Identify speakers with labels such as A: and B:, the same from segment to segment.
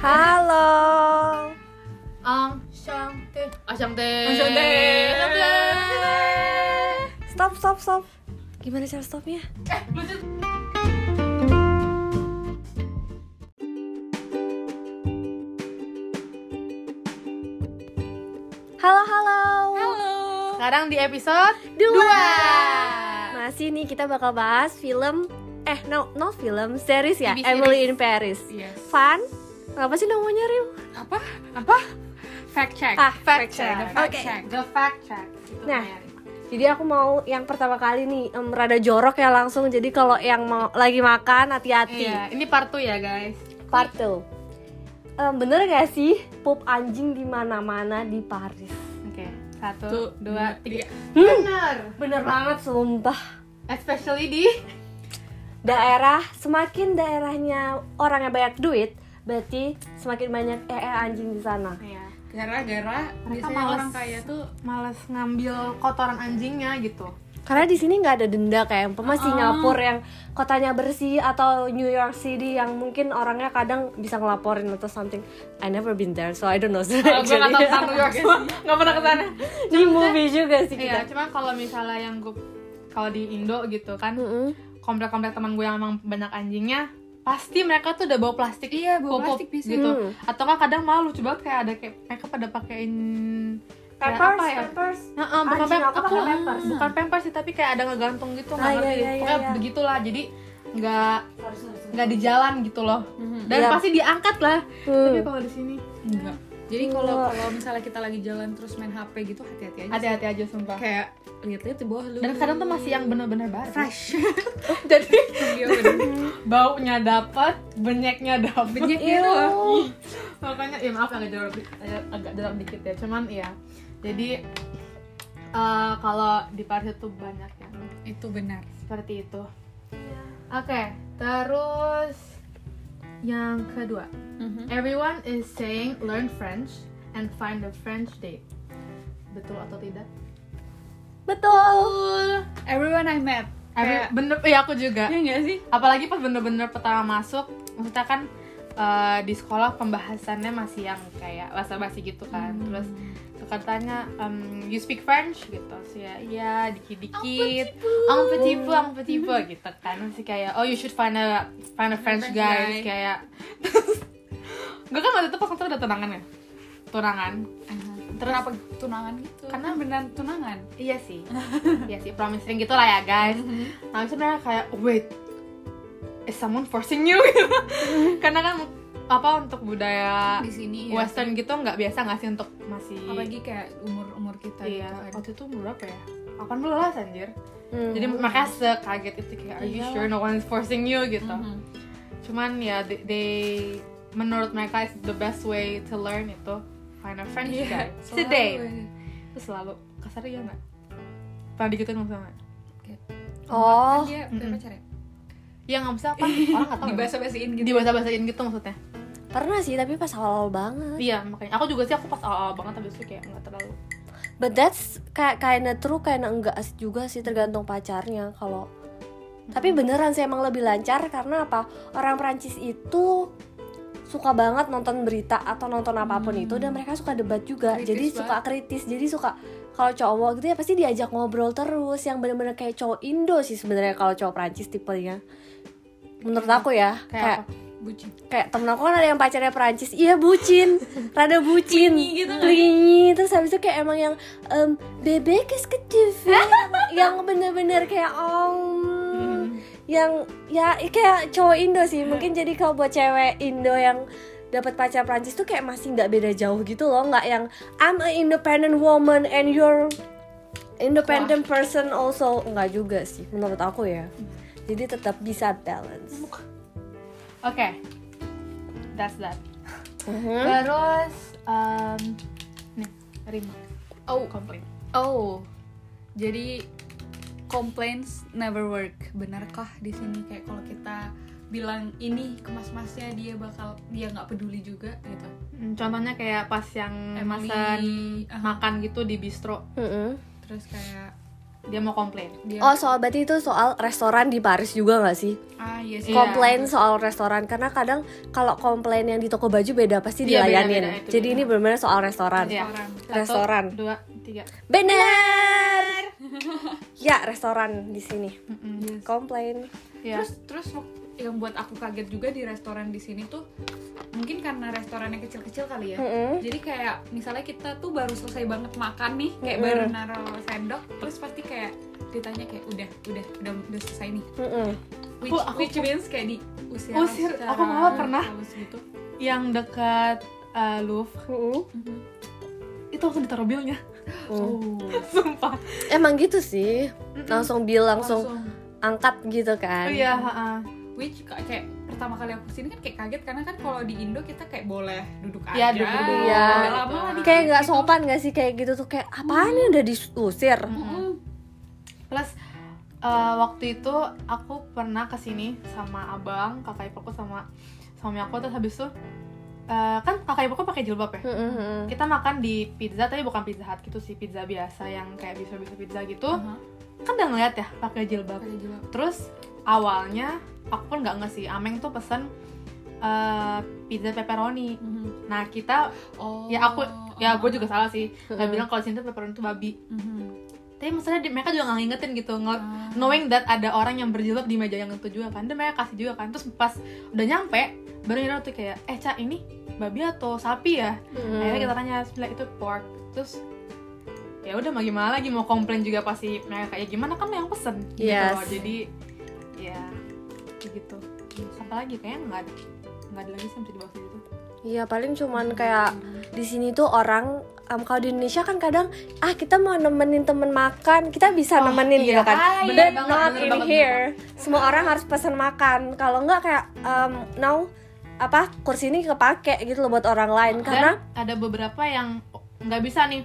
A: Halo.
B: Ang Ah,
C: Shanti.
B: Asyang teh.
C: Asyang teh.
B: Asyang teh.
A: Stop, stop, stop. Gimana cara stopnya?
B: Eh,
A: Halo, halo.
B: Sekarang di episode
A: Dua.
B: dua.
A: Masih nih kita bakal bahas film eh no not film series ya
B: TV series.
A: Emily in Paris.
C: Yes.
A: Fun. Apa sih namanya Rim?
C: Apa? Apa? Fact check.
A: Ah,
B: fact check.
C: The fact
A: Oke.
C: check. The fact check. Itu
A: Nah.
C: menarik.
A: Jadi aku mau yang pertama kali nih em, rada jorok ya langsung. Jadi kalau yang mau lagi makan hati-hati.
B: Iya, ini part 2 ya, guys.
A: Part 2 Bener gak sih pup anjing di mana-mana di Paris?
B: Oke. Satu, dua, tiga. Hmm.
A: Bener. Bener banget sumpah.
B: Especially di
A: Daerah semakin daerahnya orangnya banyak duit, berarti semakin banyak ee anjing di sana.
B: Iya.
C: Gara-gara biasanya
B: males.
C: orang kaya tuh
B: Males ngambil kotoran anjingnya gitu.
A: Karena di sini nggak ada denda kayak umpama
B: Ah.
A: Singapura yang kotanya bersih atau New York City yang mungkin orangnya kadang bisa ngelaporin atau something. I never been there, so I don't know.
B: Kalau gue nggak tahu
A: actually.
B: tentang New York sih. Nggak pernah ke sana.
A: Di movie juga sih
B: Iya,
A: kita.
B: cuma kalau misalnya yang gue kalau di Indo gitu kan
A: Mm-mm.
B: komplek-komplek teman gue yang emang banyak anjingnya pasti mereka tuh udah bawa plastik
C: Iya, bawa
B: pupuk
C: plastik biasanya.
B: gitu
A: Hmm.
B: atau nggak kadang malu coba kayak ada kayak mereka pada pakein kayak apa ya
A: peppers.
B: Heeh,
A: kan?
B: bukan
A: Anjing,
B: pem-
A: aku
B: aku
A: pakai pampers.
B: bukan pampers sih tapi kayak ada ngegantung gitu
A: Ah,
B: nggak
A: iya,
B: ngerti
A: iya, iya,
B: pokoknya
A: iya.
B: begitulah jadi nggak nggak di jalan gitu loh dan
A: Iya.
B: pasti diangkat lah
A: Hmm.
B: tapi kalau di sini
C: enggak. Jadi kalau
A: Enggak.
C: kalau misalnya kita lagi jalan terus main HP gitu hati-hati aja.
B: hati-hati aja sumpah
C: Kayak lihat-lihat di bawah lu.
B: dan kadang tuh masih yang bener-bener baru Oh,
C: fresh.
B: jadi
C: Iya, bener.
B: baunya dapat benyeknya dapat
C: Banyak gitu.
A: Ew.
B: makanya ya maaf agak jorok di- agak- agak jorok dikit ya cuman ya jadi eh, kalau di Paris itu banyak yang
C: Itu benar.
B: seperti itu oke terus yang kedua
C: Mhm.
B: everyone is saying learn French and find a French date betul atau tidak
A: Betul.
C: Everyone I met.
B: Every-
C: Kayak-
B: bener ya aku juga
C: Iya enggak sih?
B: apalagi pas bener-bener pertama masuk maksudnya kan eh, di sekolah pembahasannya masih yang kayak bahasa basi gitu kan
C: Hmm.
B: terus suka tanya em, you speak French gitu sih ya iya dikit-dikit ang petit peu ang
C: Hmm.
B: petit peu gitu kan masih kayak oh you should find a find a French
C: French
B: guy
C: guy.
B: kayak gue kan waktu itu pas itu udah tunangan ya tunangan
C: Terus apa Uh-huh. tunangan gitu? Karena beneran tunangan.
B: Iya sih, iya sih, promising gitu lah ya guys.
C: Mm-hmm.
B: Nah, sebenarnya kayak wait, is someone forcing you? Karena kan apa untuk budaya
C: Di sini ya.
B: Western gitu nggak biasa nggak sih untuk masih
C: apalagi kayak umur umur kita
B: iya
C: gitu kan.
B: waktu itu berapa ya? 18 anjir.
A: Hmm.
B: Jadi makanya sekaget itu kayak are you
C: Iyalah.
B: sure no one is forcing you gitu.
C: Mhm.
B: Cuman ya they, they- menurut mereka is the best way to learn itu find a friend
C: Iya,
B: guys
C: selalu
B: today.
C: aja.
B: Terus selalu kasar ya nggak? Pernah digituin maksudnya nggak?
A: Oh.
C: Kan dia udah
B: Mm-mm.
C: pacar ya?
B: yang Iya, nggak bisa apa orang nggak tahu ya?
C: Dibahas-bahasain gitu.
B: di bahasa bahasain gitu maksudnya
A: Pernah sih, tapi pas awal banget.
B: iya makanya aku juga sih aku pas awal banget habis itu kayak nggak terlalu
A: But that's kayak kayaknya true, kayaknya enggak sih juga sih tergantung pacarnya kalau. Tapi beneran sih emang lebih lancar karena apa? Orang Prancis itu suka banget nonton berita atau nonton apapun itu dan mereka suka debat juga.
C: Kritis
A: jadi suka kritis, jadi suka kalau cowok gitu ya pasti diajak ngobrol terus yang bener-bener kayak cowok Indo sih sebenarnya kalau cowok Prancis tipenya. Menurut aku ya,
B: kayak,
A: kayak
B: apa?
C: bucin.
A: kayak temen aku kan ada yang pacarnya Perancis iya bucin rada bucin
C: Clingy gitu kan?
A: Clingy. terus habis itu kayak emang yang em bebek is kecil yang bener-bener kayak om yang ya kayak cowok Indo sih mungkin jadi kalau buat cewek Indo yang dapat pacar Prancis tuh kayak masih nggak beda jauh gitu loh nggak yang I'm an independent woman and you're independent person also nggak juga sih menurut aku ya jadi tetap bisa balance
B: oke that's that
A: Mhm.
B: terus um, nih Rima oh komplain
C: Oh. Jadi complaints never work. Benarkah di sini kayak kalau kita bilang ini ke mas-masnya dia bakal dia nggak peduli juga gitu.
B: Hmm, contohnya kayak pas yang
C: Emily, Ah. uh-huh.
B: pesan
C: aha.
B: makan gitu di bistro
A: Mhm.
C: Terus kayak
B: dia mau komplain
C: Dia-
A: Oh soal berarti itu soal restoran di Paris juga nggak sih?
C: ah iya
B: Iya.
C: sih.
A: Komplain soal restoran karena kadang kalau komplain yang di toko baju beda pasti
B: Iya,
A: dilayanin.
B: beda-beda, itu
A: Jadi
B: beda.
A: ini benar-benar soal restoran.
B: Iya.
C: Restoran.
B: Satu,
A: Restoran.
B: dua tiga
A: Bener. ya restoran di sini.
B: Mm-mm.
C: Yes.
A: Komplain.
B: Iya.
C: Terus terus wak- yang buat aku kaget juga di restoran di sini tuh mungkin karena restorannya kecil-kecil kali ya.
A: Mm-mm.
C: Jadi kayak misalnya kita tuh baru selesai banget makan nih, kayak
A: Mm-mm.
C: baru naro sendok, terus pasti kayak ditanya kayak udah udah udah, udah selesai nih.
A: Mm-mm.
C: Which,
B: Aku- aku-
C: which means kayak di usir,
B: Usir. Aku malah pernah.
C: gitu.
B: yang dekat eh, Louvre
A: Mm-mm.
C: Mm-hmm.
B: itu langsung ditaruh bilnya
A: Mm.
B: sumpah
A: Emang gitu sih.
B: Mm-mm.
A: Langsung bill
C: Langsung.
A: langsung angkat gitu kan.
B: iya ha-ha.
C: Which ka- kayak pertama kali aku sini kan kayak kaget karena kan kalau di Indo kita kayak boleh duduk aja.
B: Iya, duduk dulu.
A: Iya.
C: Nggak lama lah dikit
A: Kayak nggak
C: gitu.
A: sopan nggak sih kayak gitu tuh kayak apaan
B: Mm.
A: nih udah diusir.
C: Mm-mm.
B: plus eh, waktu itu aku pernah kesini sama abang kakak iparku sama suami aku terus habis itu eh, kan kakak iparku pakai jilbab ya
A: Mm-mm.
B: kita makan di pizza tapi bukan pizza hut gitu sih pizza biasa yang kayak bisa bisa pizza gitu
C: Aha,
B: kan udah ngeliat ya pakai jilbab
C: pakai jilbab.
B: terus awalnya aku kan nggak nge sih ameng tuh pesen eh, pizza pepperoni
C: Mhm.
B: nah kita
C: Oh.
B: ya aku ya gue juga salah sih nggak
A: Mm-mm.
B: bilang kalau di sini tuh pepperoni tuh babi
C: Mhm.
B: tapi maksudnya di- mereka juga nggak ngingetin gitu nge-
C: Ah.
B: knowing that ada orang yang berjilbab di meja yang itu juga kan dan mereka kasih juga kan terus pas udah nyampe baru nyadar tuh kayak eh cak ini babi atau sapi ya
A: Mm-mm.
B: akhirnya kita tanya sebelah itu pork terus ya udah mau gimana lagi mau komplain juga pasti mereka kayak gimana kan lo yang pesen gitu
A: Yes.
B: loh. jadi ya gitu apa lagi kayaknya nggak ada nggak ada lagi sih yang bisa dibahas gitu
A: Iya paling cuman kayak di sini tuh orang em, kalau di Indonesia kan kadang ah kita mau nemenin temen makan kita bisa
B: Oh,
A: nemenin
B: iya.
A: gitu kan
B: Ah,
A: but
B: iya banget,
A: not
B: bener
A: in
B: banget,
A: here semua orang harus pesan makan kalau nggak kayak em, no apa kursi ini kepake gitu loh buat orang lain
B: Dan
A: karena
B: ada beberapa yang nggak bisa nih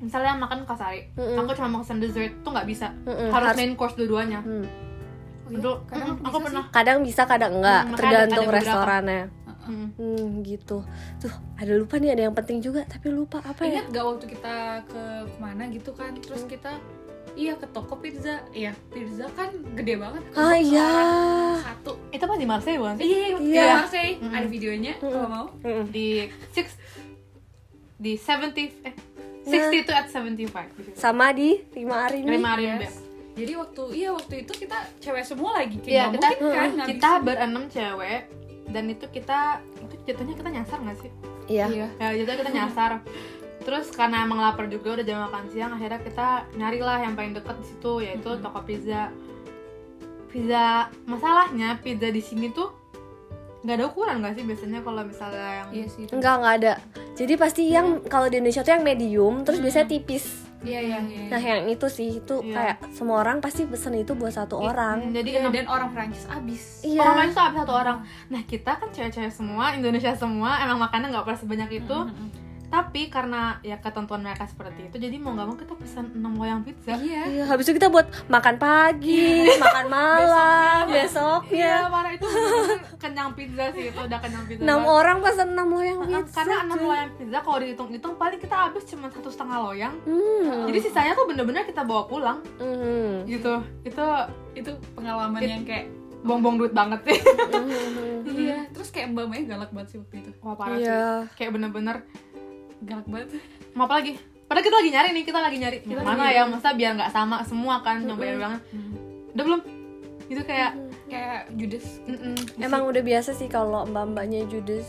B: misalnya makan kasari
A: Mm-mm.
B: aku cuma mau pesen dessert tuh nggak bisa
A: Mm-mm,
B: harus
A: harus-
B: main course dua-duanya
A: hmm,
C: Oh iya,
B: Dulu-
C: kadang
B: mm, aku
C: bisa
B: pernah
A: kadang bisa kadang enggak
B: Hmm, makanya ada-
A: tergantung
B: ada beberapa.
A: restorannya
B: Mm.
A: hmm, gitu tuh ada lupa nih ada yang penting juga tapi lupa apa ya
C: Ingat gak waktu kita ke kemana gitu kan Terus kita Iya ke toko pizza Iya pizza kan gede banget
A: ah
C: untuk
A: iya
C: seorang Satu
B: itu pasti di Marseille bukan sih
C: Iya iya
A: Iya.
C: iya Marseille.
B: Mm-mm.
C: Ada videonya kalau mau
A: Mm-mm.
B: di six di 70 eh 60 to at 75 gitu.
A: sama di lima hari ini
B: Lima hari ini,
C: Yes.
B: Beb.
C: Jadi waktu Iya waktu itu kita cewek semua lagi Kayak
B: Iya,
C: nggak
B: kita
C: mungkin kan nggak
B: kita
C: bisa.
B: berenam cewek dan itu kita itu jatuhnya kita nyasar nggak sih?
A: iya
C: Iya
B: Ya jatuhnya kita nyasar. Terus karena emang lapar juga udah jam makan siang akhirnya kita nyarilah yang paling deket di situ yaitu
C: Mhm.
B: toko pizza. Pizza masalahnya pizza di sini tuh nggak ada ukuran nggak sih biasanya kalau misalnya yang
C: Iya sih itu.
A: Enggak, enggak ada. Jadi pasti yang kalau di Indonesia tuh yang medium, terus
B: Hmm.
A: biasanya tipis.
C: Iya iya iya
A: Nah, yang itu sih itu
B: Iya.
A: kayak semua orang pasti pesen itu buat satu orang.
B: Hmm, jadi
C: Iya,
B: enam-
C: Dan orang Prancis abis
A: Iya.
B: Orang lain tuh habis satu orang. Nah kita kan cewek-cewek semua, Indonesia semua, emang makannya nggak pernah sebanyak itu.
A: Hmm.
C: Mm-mm.
B: Tapi karena ya ketentuan mereka seperti itu, jadi mau nggak mau kita pesan 6 loyang pizza.
C: Iya
A: Iya, habis itu kita buat makan pagi, makan malam,
B: Iya,
A: besoknya.
B: parah itu bener-bener kenyang pizza sih itu udah kenyang pizza.
A: Enam
B: banget.
A: orang pesan enam loyang
B: Nah,
A: pizza.
B: Karena 6
A: cuy.
B: loyang pizza kalau dihitung-hitung paling kita habis cuma satu setengah loyang.
A: Hmm.
B: Jadi sisanya tuh bener-bener kita bawa pulang
A: Mhm.
B: gitu. Itu
C: Itu pengalaman
B: It-
C: yang kayak
B: bongbong duit banget sih.
A: Mhm.
C: Iya Terus kayak mbak Maya galak banget sih waktu itu
B: Wah parah
A: Iya.
B: sih. Kayak bener-bener
C: Galak banget
B: mau apa lagi? Padahal kita lagi nyari nih, kita lagi nyari
C: Kita
B: mana
C: lagi
B: ya,
C: nyari.
B: masa biar nggak sama semua kan, nyobain
A: Mm-mm.
B: banget. Udah belum? Itu kayak
C: Kayak Judas
B: mm-mm.
A: Emang udah biasa sih kalau mbak-mbaknya judes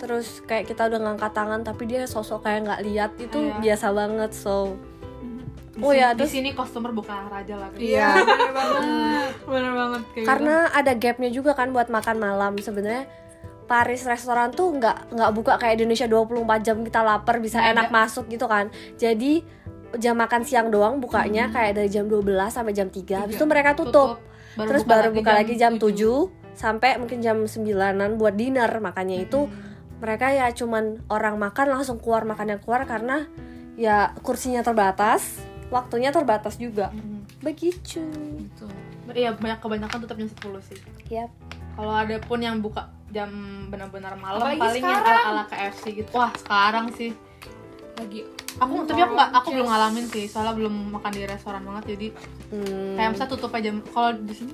A: terus kayak kita udah ngangkat tangan tapi dia sosok kayak nggak lihat itu
B: Iya.
A: biasa banget so
B: Di
A: oh ya
B: sini- di
A: terus
B: sini customer bukan raja lah Iya. guys.
A: Iya.
C: bener
B: Ah.
C: banget.
B: bener banget kayak
A: karena ada gapnya juga kan buat makan malam sebenarnya Paris restoran tuh nggak nggak buka kayak Indonesia 24 jam kita lapar bisa
B: Nggak
A: enak masuk gitu kan jadi jam makan siang doang bukanya kayak dari jam 12 sampai jam 3 habis
C: Tiga.
A: itu mereka
B: gitu.
A: Hmm. Iya. tutup, terus baru buka lagi jam,
B: 7.
A: 7 sampai mungkin jam 9an buat dinner makanya itu mereka ya cuman orang makan langsung keluar makan yang keluar karena ya kursinya terbatas waktunya terbatas juga
B: Mm.
A: begitu
C: Gitu.
B: Iya banyak kebanyakan tutup jam 10 sih.
A: ya
B: Kalau ada pun yang buka jam benar-benar malam
C: Apalagi
B: paling yang
C: sekarang.
B: ala-ala KFC gitu. Wah, sekarang sih
C: Lagi
B: aku tapi aku nggak aku belum ngalamin sih soalnya belum makan di restoran banget jadi
A: Hmm,
B: kayak misalnya tutup aja kalau di sini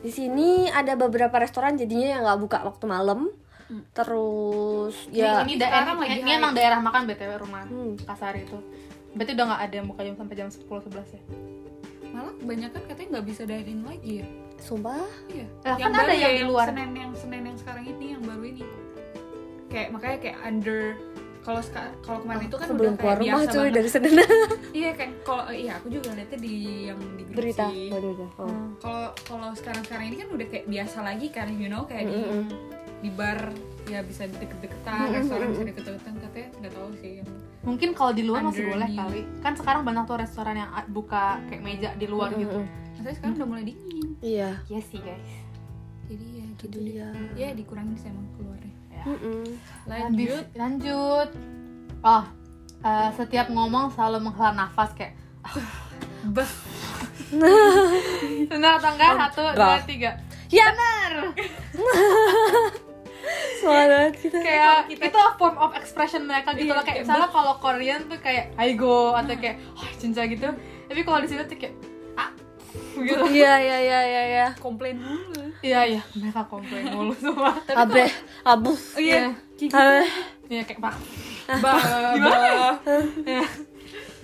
A: di sini ada beberapa restoran jadinya yang nggak buka waktu malam
C: Hmm.
A: terus ya
B: Nah, ini, ini daerah
C: Sekarang lagi
B: ini
C: hype.
B: emang daerah makan btw rumah
A: Hmm.
B: kasar itu berarti udah nggak ada yang buka jam sampai jam 10 11 ya
C: malah kebanyakan katanya nggak bisa dine in lagi ya
A: sumpah
C: iya
B: Lah, kan ada yang di luar.
C: senen yang senen yang sekarang ini yang baru ini kayak makanya kayak under kalau seka- kalau kemarin itu kan
A: sebelum
C: udah kayak
A: keluar rumah
C: biasa
A: cuy
C: banget.
A: dari Senin
C: iya kan kalau iya aku juga lihatnya di yang di grup
A: berita
C: Iya sih.
A: Waduh, waduh. Oh.
C: kalau kalau sekarang sekarang ini kan udah kayak biasa lagi kan you know kayak di-
A: Oh. Mm-mm.
C: di, bar ya bisa deket-deketan restoran bisa deket-deketan katanya nggak tahu sih yang
B: mungkin kalau di luar masih
C: Under
B: boleh
C: the-
B: kali kan sekarang banyak tuh restoran yang a- buka kayak meja di luar gitu
C: katanya sekarang udah mulai dingin
A: iya
B: iya sih guys
C: jadi ya gitu
A: Itu dia.
C: ya ya dikurangin sih emang keluarnya
A: Mm-mm.
C: lanjut
B: Habis- lanjut oh eh, setiap ngomong selalu menghela nafas kayak
C: bah
B: benar atau enggak satu dua
A: Enggak.
B: tiga
A: ya semangat banget kita
B: kayak itu form of expression mereka gitu
C: Iya,
B: loh kayak
C: kayak
B: misalnya kalau Korean tuh kayak aigo atau kayak oh cinca gitu tapi kalau di sini tuh kayak ah gitu
A: iya iya iya iya iya
C: komplain dulu
B: iya iya mereka komplain mulu semua
A: abe abu
B: iya
A: abe
B: iya kayak pak
C: bah
B: gimana ya? Iya.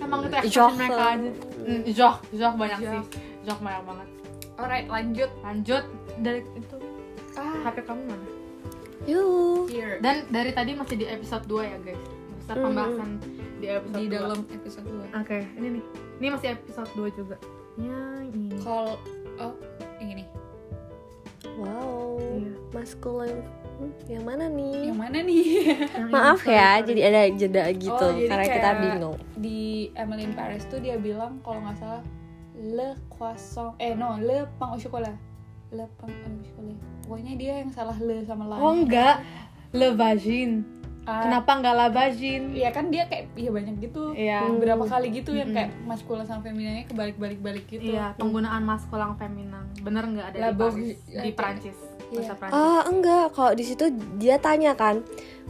B: emang itu expression
A: Jok.
B: mereka aja Mm, jok jok banyak
C: Jok.
B: sih jok banyak banget
C: alright lanjut
B: lanjut dari itu
C: ah
B: HP kamu mana
A: yuk
C: here
B: dan dari tadi masih di episode 2 ya guys besar
A: Mm.
B: pembahasan di episode
C: di
B: dua.
C: dalam episode 2
B: Oke, ini nih. Ini masih episode 2 juga.
C: Iya,
B: Ya, ini.
C: call oh yang ini
A: wow
B: Iya.
A: maskulin Hmm, yang mana nih
C: yang mana nih
B: Yang
A: maaf
B: ini,
A: ya
B: sorry,
A: jadi ada jeda gitu
C: Oh, jadi
A: karena kita
C: kayak-
A: bingung
C: di Emily in Paris tuh dia bilang kalau nggak salah le croissant eh no le pain au chocolat le pain au chocolat pokoknya dia yang salah le sama la
B: sorry. Oh enggak, le vagin.
C: Ah,
B: Kenapa enggak la vagin?
C: ya kan dia kayak ya banyak gitu
B: Iya.
C: beberapa kali gitu
B: Mm-mm.
C: yang kayak maskulin sama femininnya kebalik balik balik gitu
B: Iya, penggunaan maskulang feminan. Bener enggak ada
C: La
B: di
C: bourgeois-
B: Paris, di Prancis? Bahasa
C: Iya.
B: Prancis.
A: ah enggak kalau di situ dia tanya kan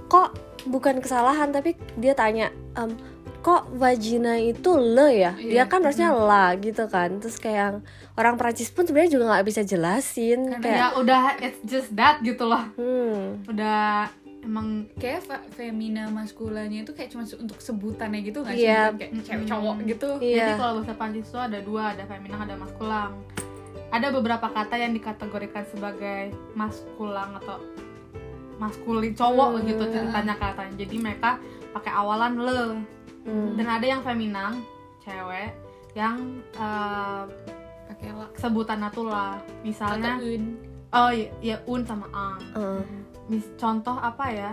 A: kok bukan kesalahan tapi dia tanya em, kok vagina itu le ya dia
C: Iya.
A: kan harusnya la gitu kan terus kayak yang orang Prancis pun sebenarnya juga nggak bisa jelasin
C: Karena
A: kayak
B: Ya udah it's just that gitu loh.
A: hmm
B: Udah emang
C: kayak fe- femina maskulanya itu kayak cuma se- untuk sebutannya gitu nggak
A: Iya.
C: sih Bukan kayak cewek cowok
B: Mm-mm.
C: gitu
B: Jadi
A: iya
B: kalau bahasa Prancis itu ada dua, ada feminan, ada maskulang. Ada beberapa kata yang dikategorikan sebagai maskulang atau maskulin cowok
A: Hmm.
B: gitu ceritanya katanya. Jadi mereka pakai awalan le.
A: Hmm.
B: Dan ada yang feminang, cewek, yang eh,
C: pakai la
B: sebutannya tuh la.
C: atau
B: Misalnya
C: un
B: oh iya, iya, un sama ang.
A: Heeh.
B: Mis- contoh apa ya?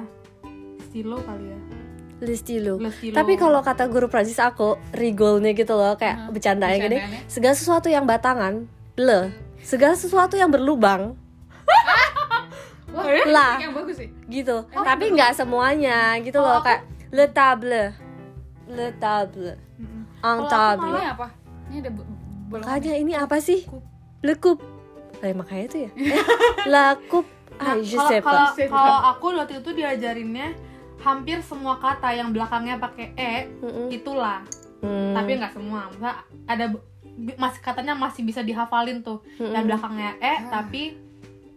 B: Stilo kali ya.
A: le stylo.
B: Le stilo.
A: tapi kalau kata guru Prancis aku rigolnya gitu loh kayak
C: Hmm,
A: bercandanya gini
C: bercandaannya.
A: segala sesuatu yang batangan le segala sesuatu yang berlubang
C: wah
B: Eh?
A: la
C: yang bagus sih
A: gitu tapi nggak semuanya gitu
B: Kalau
A: loh
B: Oh, aku-
A: kayak le table le table
B: Mm-mm.
A: en
B: Kalau aku ya,
A: table
C: ini apa ini ada bo- bolongan
A: makanya ini apa sih
C: Kup.
A: le coupe eh, makanya itu ya Eh, la coupe ah
B: Nah,
A: je
B: kalau
A: sais
B: kalau
A: pas
C: pas.
B: kalau aku waktu itu diajarinnya hampir semua kata yang belakangnya pakai e
A: Mm-mm.
B: itulah,
A: Hmm.
B: tapi nggak semua. Maksudnya ada bi- masih katanya masih bisa dihafalin tuh
A: Mm-mm.
B: yang belakangnya e tapi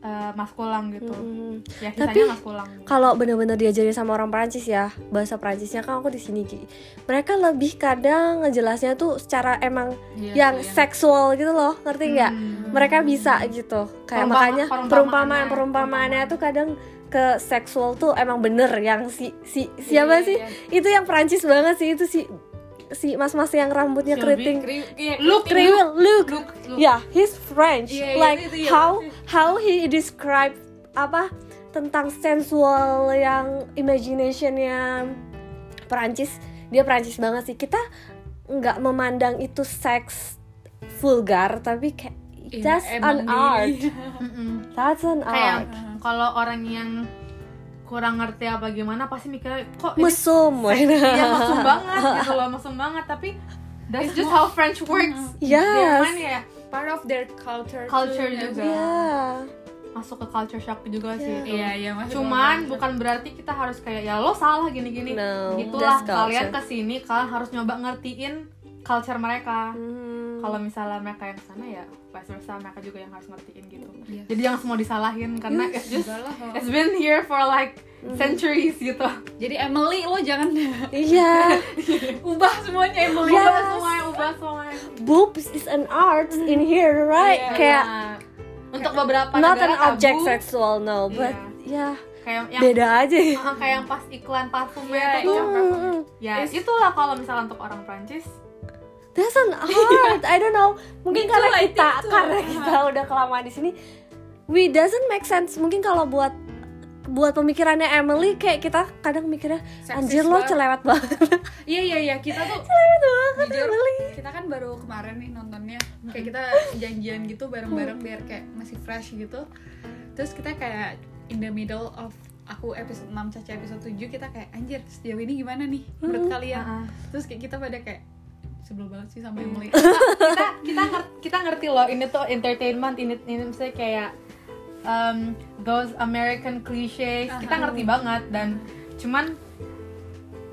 B: eh, maskulang gitu.
A: Mm-mm.
B: Ya sisanya
A: Hmm. Tapi-
B: maskulang.
A: kalau benar-benar diajari sama orang Perancis ya bahasa Perancisnya kan aku di sini Ki. mereka lebih kadang ngejelasnya tuh secara emang
C: Iya
A: yang
C: sih,
A: seksual gitu loh ngerti nggak
B: Hmm.
A: mereka bisa gitu kayak
B: Perumpama-
A: makanya
C: ya,
A: perumpamaan
B: perumpamaannya-
A: perumpamaannya
B: perumpamaannya.
A: tuh kadang ke seksual tuh emang bener yang si si siapa
C: Iya,
A: sih
C: iya.
A: itu yang Perancis banget sih itu si si mas-mas yang rambutnya
B: Shelby
A: keriting
C: Kriw- iya,
B: Look,
C: kriting.
A: Kriwil Luke
B: Look, look.
A: ya he's French
C: Iya, iya,
A: like
C: itu, iya.
A: how how he describe apa tentang sensual yang imaginationnya Perancis dia Perancis banget sih kita nggak memandang itu seks vulgar tapi kayak
C: Iya,
A: that's an
C: emang di-
A: art
B: Mm-mm.
A: that's an art
B: Kayak kalau orang yang kurang ngerti apa gimana pasti mikirnya kok ini
A: mesum
B: Iya mesum banget gitu loh, mesum banget tapi that's just how French works.
A: Yes.
B: Dia kan ya
C: part of their culture
B: culture
C: too, ya.
B: juga.
A: ya
B: masuk ke culture shock juga sih
A: Iya.
B: itu.
C: Iya, iya, masih
B: Cuman
C: belum-
B: bukan berarti kita harus kayak ya lo salah gini-gini.
A: No,
B: Itulah
A: that's culture.
B: kalian kesini kalian harus nyoba ngertiin culture mereka.
A: Hmm.
B: Kalau misalnya mereka yang sana ya vice versa mereka juga yang harus ngertiin gitu.
C: Yes.
B: Jadi jangan semua disalahin karena it's just
C: Iya. ya? Enggak lah, kalau-
B: it's been here for like centuries gitu.
C: Jadi Emily lo jangan
A: Iya,
C: ubah semuanya Emily.
A: Yes.
B: Ubah semuanya, ubah semuanya.
A: boobs is an art in here, right?
B: Iya.
A: Kayak
B: untuk beberapa
A: not
B: negara
A: an object
B: tabu,
A: sexual, no, but ya
B: kayak yang
A: beda aja.
B: Ah, kayak yang pas iklan parfum
C: Iya,
B: ya itu
C: iya.
B: tuh.
A: Hmm.
B: ya itulah kalau misalnya untuk orang Prancis
A: That's an
B: Iya.
A: art. I don't know. Mungkin
C: Gitu
A: karena
C: lah,
A: kita
C: gitu.
A: karena kita udah kelamaan di sini, we doesn't make sense. Mungkin kalau buat buat pemikirannya Emily kayak kita kadang mikirnya
C: Seksis
A: anjir lo
C: banget."
A: celewet banget.
C: Iya iya iya kita tuh
A: celewet banget
C: jujur
A: Emily.
C: kita kan baru kemarin nih nontonnya kayak kita janjian gitu bareng-bareng biar kayak masih fresh gitu. Terus kita kayak in the middle of aku episode 6 Caca episode 7 kita kayak anjir sejauh ini gimana nih menurut kalian?
B: Ah, ah.
C: Terus kayak kita pada kayak sebel banget sih sama Emily.
B: kita kita ngerti, kita ngerti loh ini tuh entertainment ini ini misalnya kayak um, those American cliches kita
C: Aha.
B: ngerti banget dan cuman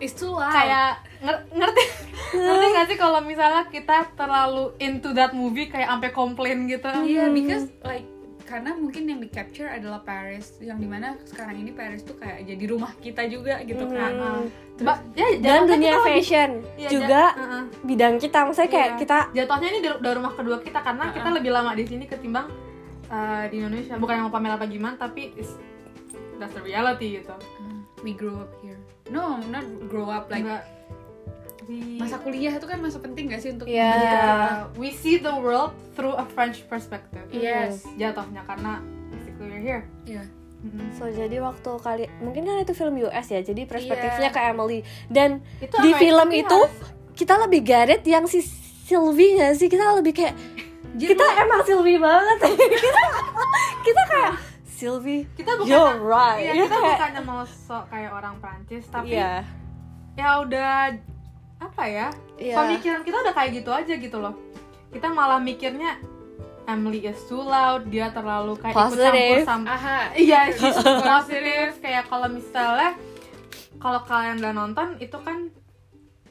C: It's too loud.
B: kayak nger- ngerti ngerti gak sih kalau misalnya kita terlalu into that movie kayak sampai komplain gitu
C: Iya, because like karena mungkin yang di capture adalah Paris, yang dimana sekarang ini Paris tuh kayak jadi rumah kita juga gitu kan.
B: Ah, ah.
A: Hmm.
C: Terus-
B: Ba- ya,
A: Dan
B: jangan kan
A: dunia
B: kita lagi-
A: fashion
B: Iya,
A: juga
B: ja- ah, ah.
A: bidang kita. Maksudnya kayak
B: Iya.
A: kita
B: jatuhnya ini dari dari rumah kedua kita karena kita lebih lama di sini ketimbang uh, di Indonesia bukan yang mau pamer apa gimana tapi it's, that's the reality gitu
C: We grow up here. No, not grow up like
B: Nggak- we,
C: masa kuliah itu kan masa penting gak sih untuk
A: Iya.
C: jadi orang?
B: uh, we see the world through a French perspective
C: Yes.
B: jatuhnya karena basically we're here
C: Iya.
B: Mm-mm.
A: So jadi waktu kali mungkin kan itu film US ya, jadi perspektifnya
C: Iya.
A: ke Emily dan
B: Itu ya? Iya.
A: di
B: Amerika
A: film
B: tapi
A: itu kita lebih garet yang si Sylvie nggak sih kita lebih kayak
C: Jadi
A: kita emang Sylvie banget kita kita kayak Sylvie
B: kita bukan
A: you're right
B: ya,
A: Iya,
B: kita
A: kayak-
B: bukannya mau sok kayak orang Prancis tapi
A: Iya.
B: ya udah apa ya
A: Iya.
B: pemikiran kita udah kayak gitu aja gitu loh kita malah mikirnya Emily is too loud dia terlalu kayak
A: Positive.
B: ikut campur sama
C: aha.
B: iya she's too positive kayak kalau misalnya kalau kalian udah nonton itu kan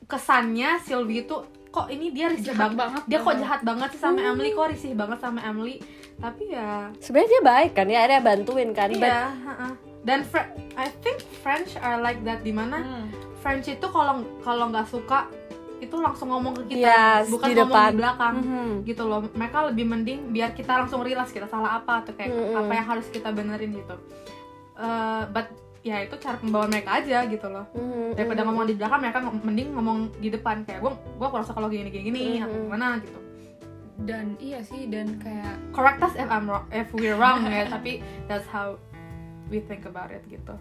B: kesannya Sylvie itu kok ini dia risih banget,
C: Jahat banget.
B: dia kok jahat banget sih sama Emily kok risih banget sama Emily tapi ya
A: sebenarnya dia baik kan ya ada bantuin kan but
B: iya heeh. dan Fre- I think French are like that dimana
C: Hmm.
B: French itu kalau kalau nggak suka itu langsung ngomong ke kita
A: Yes,
B: bukan
A: di
B: ngomong
A: depan.
B: di belakang
A: Mhm.
B: gitu loh mereka lebih mending biar kita langsung rilas kita salah apa atau kayak
A: Mm-mm.
B: apa yang harus kita benerin gitu Eh, but ya itu cara pembawaan mereka aja gitu loh
A: Mhm,
B: daripada
A: mhm.
B: ngomong di belakang mereka ngom- mending ngomong di depan kayak gue gue kurang suka kalau gini gini gini atau
A: Mm-mm.
B: gimana gitu
C: Dan iya sih dan kayak
B: correct us if I'm wrong if we're wrong ya tapi that's how we think about it gitu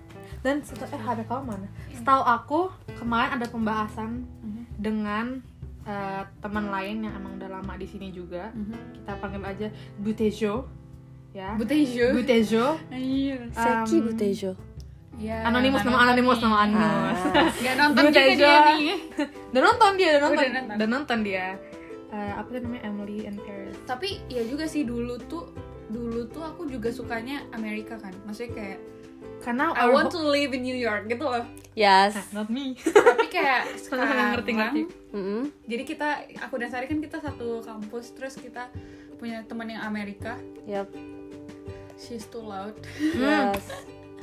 B: dan seta- eh ada kamu mana setahu aku kemarin ada pembahasan
C: Mhm.
B: dengan eh, teman lain yang emang udah lama di sini juga
C: Mhm.
B: kita panggil aja Butejo ya
C: Butejo.
B: Butejo
C: Iya.
A: Mm-hmm. Seki
B: Um,
A: Butejo
C: Iya.
B: anonimus nama anonimus nama anonimus
A: Ah.
C: Gak nonton juga
B: Butejo.
C: dia nih.
B: udah nonton dia udah nonton
C: Udah nonton.
B: udah nonton dia Eh, apa tuh namanya Emily in Paris
C: tapi ya juga sih dulu tuh dulu tuh aku juga sukanya Amerika kan maksudnya kayak
B: karena
C: I
B: our
C: want
B: ho-
C: to live in New York gitu loh
A: yes
B: Nah, not me
C: tapi kayak sekarang
B: ngerti ngerti
A: Mhm.
C: jadi kita aku dan Sari kan kita satu kampus terus kita punya teman yang Amerika
A: Yep.
C: she's too loud
B: Mm-hmm.
A: yes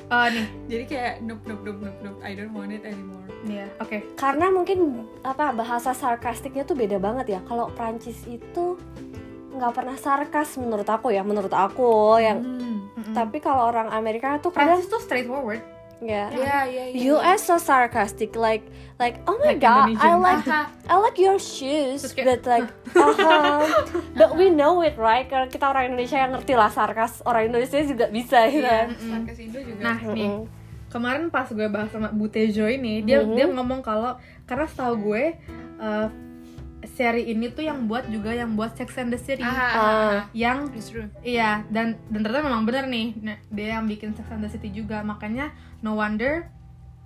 B: Eh, nih
C: jadi kayak nope nope nope nope nope I don't want it anymore
B: Iya, oke
A: karena mungkin apa bahasa sarkastiknya tuh beda banget ya kalau Prancis itu nggak pernah sarkas menurut aku ya menurut aku yang
C: hmm.
B: Mm-mm.
A: tapi kalau orang Amerika tuh kadang
B: Prancis tuh straightforward.
A: ya
B: Iya.
C: ya ya ya
A: US so sarcastic like like oh my
B: Like
A: god I
B: Indonesian.
A: like
C: Aha,
A: I like your shoes
B: Terus
A: but
B: kayak,
A: like uh-huh. but we know it right karena kita orang Indonesia yang ngerti lah sarkas orang Indonesia juga bisa gitu kan
C: iya sarkas Indo juga
B: Nah, nih
A: Mm-mm.
B: kemarin pas gue bahas sama Butejo ini, dia
A: Mhm.
B: dia ngomong kalau karena setahu gue eh, seri ini tuh yang buat juga yang buat Sex and the City.
C: aha, aha, aha.
B: Yang
C: It's true.
B: iya dan dan ternyata memang bener nih Nah, dia yang bikin Sex and the City juga makanya no wonder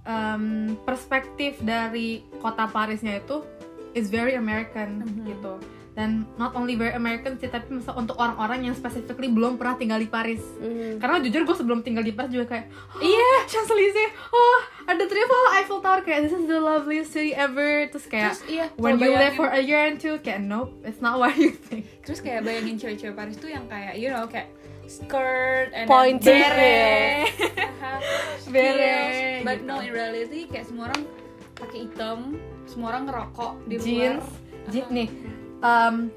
B: em, perspektif dari kota Parisnya itu is very American
C: Mhm.
B: gitu dan not only very American sih tapi misal untuk orang-orang yang specifically belum pernah tinggal di Paris
A: Hmm.
B: karena jujur gue sebelum tinggal di Paris juga kayak iya Champs Elysees oh ada Trifle Eiffel Tower kayak this is the loveliest city ever terus kayak
C: Terus iya,
B: when
C: kalau
B: you live
C: bayangin-
B: for a year and two kayak nope it's not what you think
C: terus kayak bayangin cewek-cewek Paris tuh yang kayak you know kayak skirt and then
A: Pointy.
C: beret, heels,
B: Beret,
C: but
B: gitu.
C: no in reality kayak semua orang pakai hitam semua orang ngerokok di luar
B: jeans jeans nih um,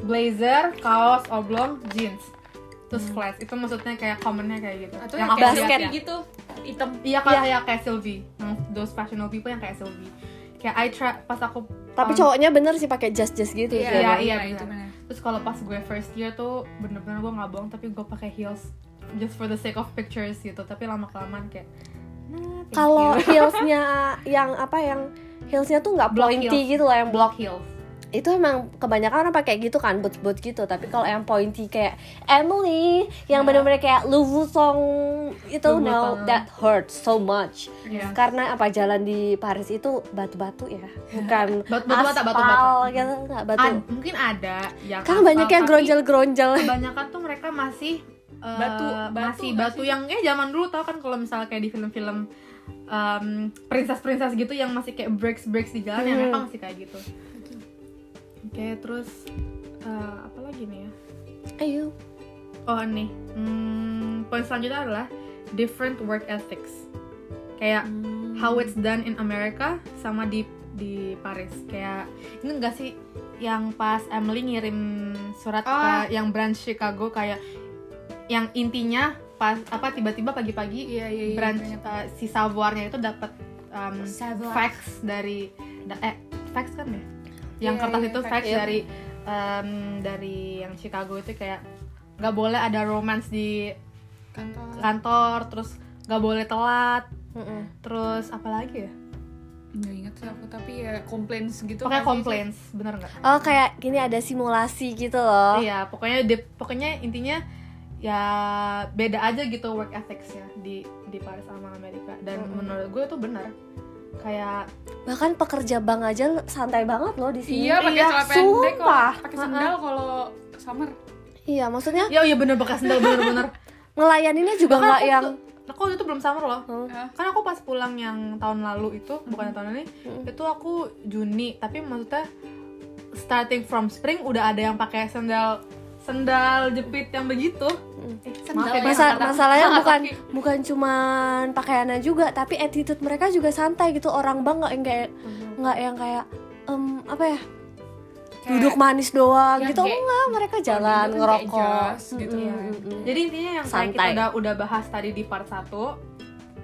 B: blazer kaos oblong jeans terus flat itu maksudnya kayak commonnya kayak gitu
C: Hmm. atau
B: yang
C: yang
B: aku
C: kayak
A: basket.
B: lihat
C: basket
B: ya.
C: gitu hitam
B: iya kayak ya. kayak Sylvie yang those fashionable people yang kayak Sylvie kayak I try pas aku
A: Tapi
B: um,
A: cowoknya bener sih pakai jas-jas gitu
C: Iya,
A: sih,
B: iya
A: emang.
B: iya
C: iya, itu
B: benar.
C: benar.
B: terus kalau pas gue first year tuh bener-bener gue nggak bohong tapi gue pakai heels just for the sake of pictures gitu tapi lama kelamaan kayak nah, thank
A: Kalau
B: you.
A: heelsnya yang apa yang heelsnya tuh nggak
B: Block
A: pointy
B: heels.
A: gitu loh yang
B: block heels
A: itu emang kebanyakan orang pakai gitu kan boots boots gitu tapi kalau yang pointy kayak Emily yang
B: Nah.
A: bener-bener kayak Louis Vuitton itu
B: Louis
A: no
B: Vuitton.
A: that hurts so much
B: Iya.
A: karena apa jalan di Paris itu batu-batu ya bukan
B: Batu- batu-batu,
A: aspal
B: batu-batu.
A: gitu nggak batu
B: Ad- mungkin ada yang
A: kan
B: aspal,
A: banyak yang
B: tapi-
A: gronjel-gronjel
B: kebanyakan tuh mereka masih eh,
C: Batu, batu
B: masih
C: nggak
B: batu
C: sih?
B: yang eh zaman dulu tau kan kalau misalnya kayak di film-film em, princess-princess gitu yang masih kayak breaks breaks di jalan yang
A: Hmm.
B: mereka masih kayak gitu oke terus eh, apa lagi nih ya
A: ayo
B: oh nih hmm, poin selanjutnya adalah different work ethics kayak how it's done in America sama di di Paris kayak ini enggak sih yang pas Emily ngirim surat ke-
C: Ah.
B: yang branch Chicago kayak yang intinya pas apa tiba-tiba pagi-pagi
C: iya iya iya
B: branch
C: banyak.
B: uh, si savoir-nya itu dapat um,
C: Savoir.
B: fax dari da- eh fax kan ya yang
C: Iya,
B: kertas
C: iya,
B: itu
C: fax,
B: fax
A: iya.
B: dari um, dari yang Chicago itu kayak nggak boleh ada romance di
C: kantor
B: kantor terus nggak boleh telat
A: Mm-mm.
B: terus apa lagi ya
C: nggak inget sih aku tapi ya complaints gitu
B: pokoknya
C: nggak sih?
B: complaints bener nggak
A: oh kayak gini ada simulasi gitu loh
B: iya pokoknya di- pokoknya intinya ya beda aja gitu work ethicsnya di di Paris sama Amerika dan
A: Mm-mm.
B: menurut gue itu benar kayak
A: bahkan pekerja bank aja santai banget loh di sini
C: iya pakai
B: Iya,
C: celana
A: sumpah.
C: pendek kalau pakai sandal kalau summer
A: Iya, maksudnya
B: ya iya bener bekas sendal bener-bener
A: ngelayaninnya juga
B: Bahkan
A: nggak
B: aku
A: yang
B: tuh- aku itu belum summer loh
A: Hmm.
C: Hah?
B: kan aku pas pulang yang tahun lalu itu bukan tahun ini
A: Mm.
B: itu aku Juni tapi maksudnya starting from spring udah ada yang pakai sendal sendal jepit yang begitu Eh, maaf ya,
A: Masa-
B: kata-
A: masalahnya
B: kata-
A: bukan bukan cuman pakaiannya juga tapi attitude mereka juga santai gitu orang bang nggak yang kayak
C: Mhm.
A: nggak yang kayak em, apa ya
C: Kayak-
A: duduk manis doang
C: Yang
A: gitu
C: kayak-
A: enggak mereka jalan
C: gitu kan kayak
A: ngerokok
C: jazz gitu
A: Mm-mm,
B: ya.
A: mm-mm.
B: Jadi intinya yang kayak kita
A: Santai.
B: udah, udah bahas tadi di part 1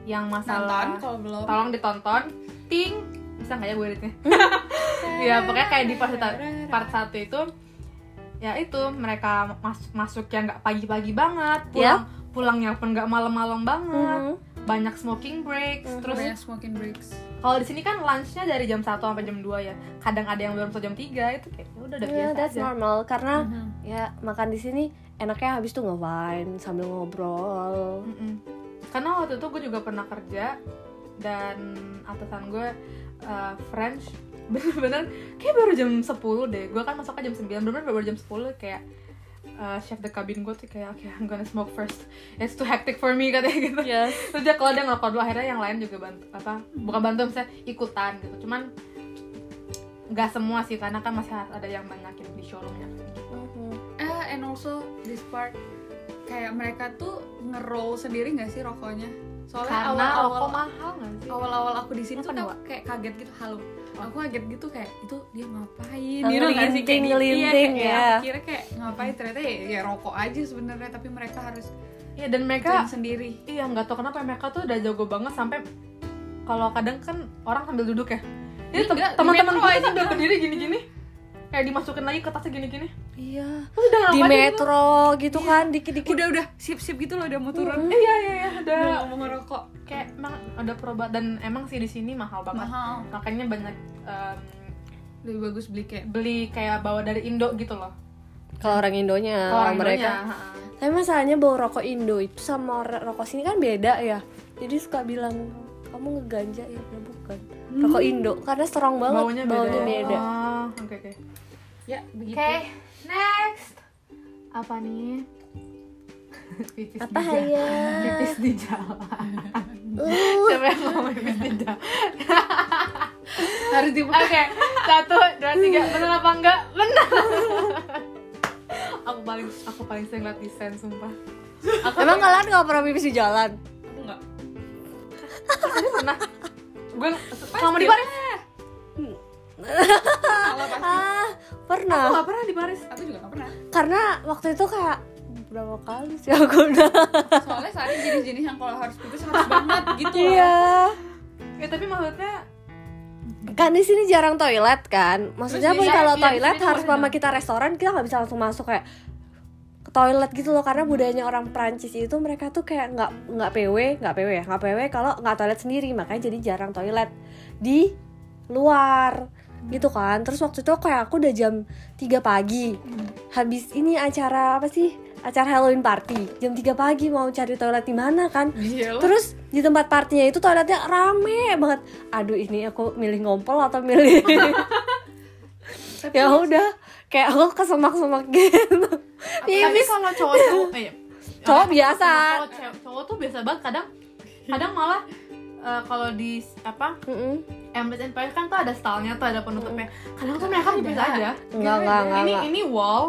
B: yang
C: nonton
B: masalah
C: kalau belum
B: tolong ditonton. Ting. Bisa nggak ya gue editnya? ya pokoknya kayak di part, part 1 itu ya itu mereka mas- masuk yang nggak pagi-pagi banget, pulang pulangnya pun nggak malam-malam banget.
A: Mm-mm.
B: Banyak smoking breaks,
A: Mhm.
B: terus
C: banyak smoking breaks
B: kalau di sini kan lunchnya dari jam 1 sampai jam 2 ya. Kadang ada yang belum sampai jam 3 itu kayak ya udah udah
A: Yeah,
B: biasa
A: that's
B: aja.
A: normal karena
C: Mhm. Mm-hmm.
A: ya makan di sini enaknya habis tuh nge-wine sambil ngobrol
B: Mm-mm. Karena waktu itu gue juga pernah kerja dan atasan gue uh, French bener-bener kayak baru jam 10 deh. Gue kan masuknya jam 9, bener-bener baru jam 10 kayak uh, chef the cabin gue tuh kayak okay, I'm gonna smoke first. It's too hectic for me katanya
C: Mm-hmm.
B: gitu. Terus dia kalau dia ngelakon dulu akhirnya yang lain juga bantu apa bukan bantu misalnya ikutan gitu. Cuman nggak semua sih karena kan masih harus ada yang banyakin di showroomnya.
A: Mhm.
C: eh and also this part kayak mereka tuh ngeroll sendiri nggak sih rokoknya soalnya
B: Karena rokok
C: awal-awal
B: mahal nggak sih?
C: awal-awal aku di sini tuh
B: Kenapa,
C: aku kayak kaget gitu halo aku kaget gitu kayak itu dia ngapain
A: Lalu
C: Ngerti nggak sih? Kayak
A: linting,
C: di- iya,
A: linting,
C: kayak-
A: ya.
C: aku kira kayak ngapain ternyata ya, ya rokok aja sebenarnya tapi mereka harus
B: Iya dan mereka
C: Mereka sendiri
B: Iya nggak tau kenapa mereka tuh udah jago banget sampai kalau kadang kan orang sambil duduk ya. Jadi
C: Ini
B: tem-
C: enggak, di
B: teman-teman
C: metro
B: gue
C: aja
B: tuh sambil berdiri gini-gini kayak dimasukin lagi ke tasnya gini-gini.
A: iya
B: Terus udah
A: di
B: ngapain gitu?
A: metro gitu kan dikit-dikit
C: Iya. udah udah sip sip gitu loh udah mau turun
B: Iya iya iya udah
C: udah mau ngerokok
B: kayak emang ada perubahan dan emang sih di sini mahal banget.
C: mahal
B: Makanya banyak em,
C: lebih bagus beli kayak
B: beli kayak bawa dari Indo gitu loh.
A: kalau orang Indonya
B: Kalau
A: orang Ah, mereka Tapi masalahnya bau rokok Indo itu sama ro- rokok sini kan beda ya. Jadi suka bilang kamu ngeganja ya, ya bukan. Rokok Indo karena strong banget
B: baunya beda. Hmm. ya?
A: beda.
B: Ah, oke oke.
C: ya begitu
B: Oke, next. Apa nih? Pipis
A: Apa
B: di jalan.
A: ya?
B: Pipis di jalan.
A: Uh,
B: Siapa yang mau pipis di jalan?
C: harus dibuka
B: Oke, satu, dua, tiga. Bener apa enggak? Bener. aku paling aku paling sering liat desain sumpah. Aku
A: emang kalian nggak pernah pipis di jalan?
C: enggak
B: pernah. Gue kamu di Paris?
C: kalau pasti
A: Ah,
B: Aku
A: pernah.
B: gak pernah di Paris.
C: aku juga gak pernah
A: Karena waktu itu kayak berapa kali sih aku udah.
C: soalnya Sari jenis-jenis yang kalau harus pipis harus banget gitu loh.
A: Iya.
B: Ya tapi maksudnya
A: Kan di sini jarang toilet kan. Maksudnya
C: Terus
A: pun
B: di-
A: kalau
B: iya, di
A: toilet
B: sini
A: harus
B: toilet.
A: mama kita restoran kita nggak bisa langsung masuk kayak ke toilet gitu loh karena budayanya orang Perancis itu mereka tuh kayak nggak nggak PW nggak PW ya nggak PW kalau nggak toilet sendiri makanya jadi jarang toilet di luar gitu kan terus waktu itu kayak aku udah jam 3 pagi habis ini acara apa sih acara Halloween party jam 3 pagi mau cari toilet di mana kan
C: Iya,
A: Terus di tempat partinya itu toiletnya rame banget. Aduh ini aku milih ngompol atau milih ya udah kayak aku kesemak-semak gitu. Ya,
B: tapi
A: bis-
B: kalau cowok cowok eh,
A: Cowok
B: orang-
A: biasa.
B: cowok, cewek- cowok tuh biasa banget kadang kadang malah eh, kalau di apa
A: Mm-mm.
B: Emirates and Paris kan tuh ada stylenya tuh ada penutupnya kadang tuh mereka biasa
A: Iya.
B: aja
A: Enggak enggak enggak.
B: ini
A: enggak.
B: ini wall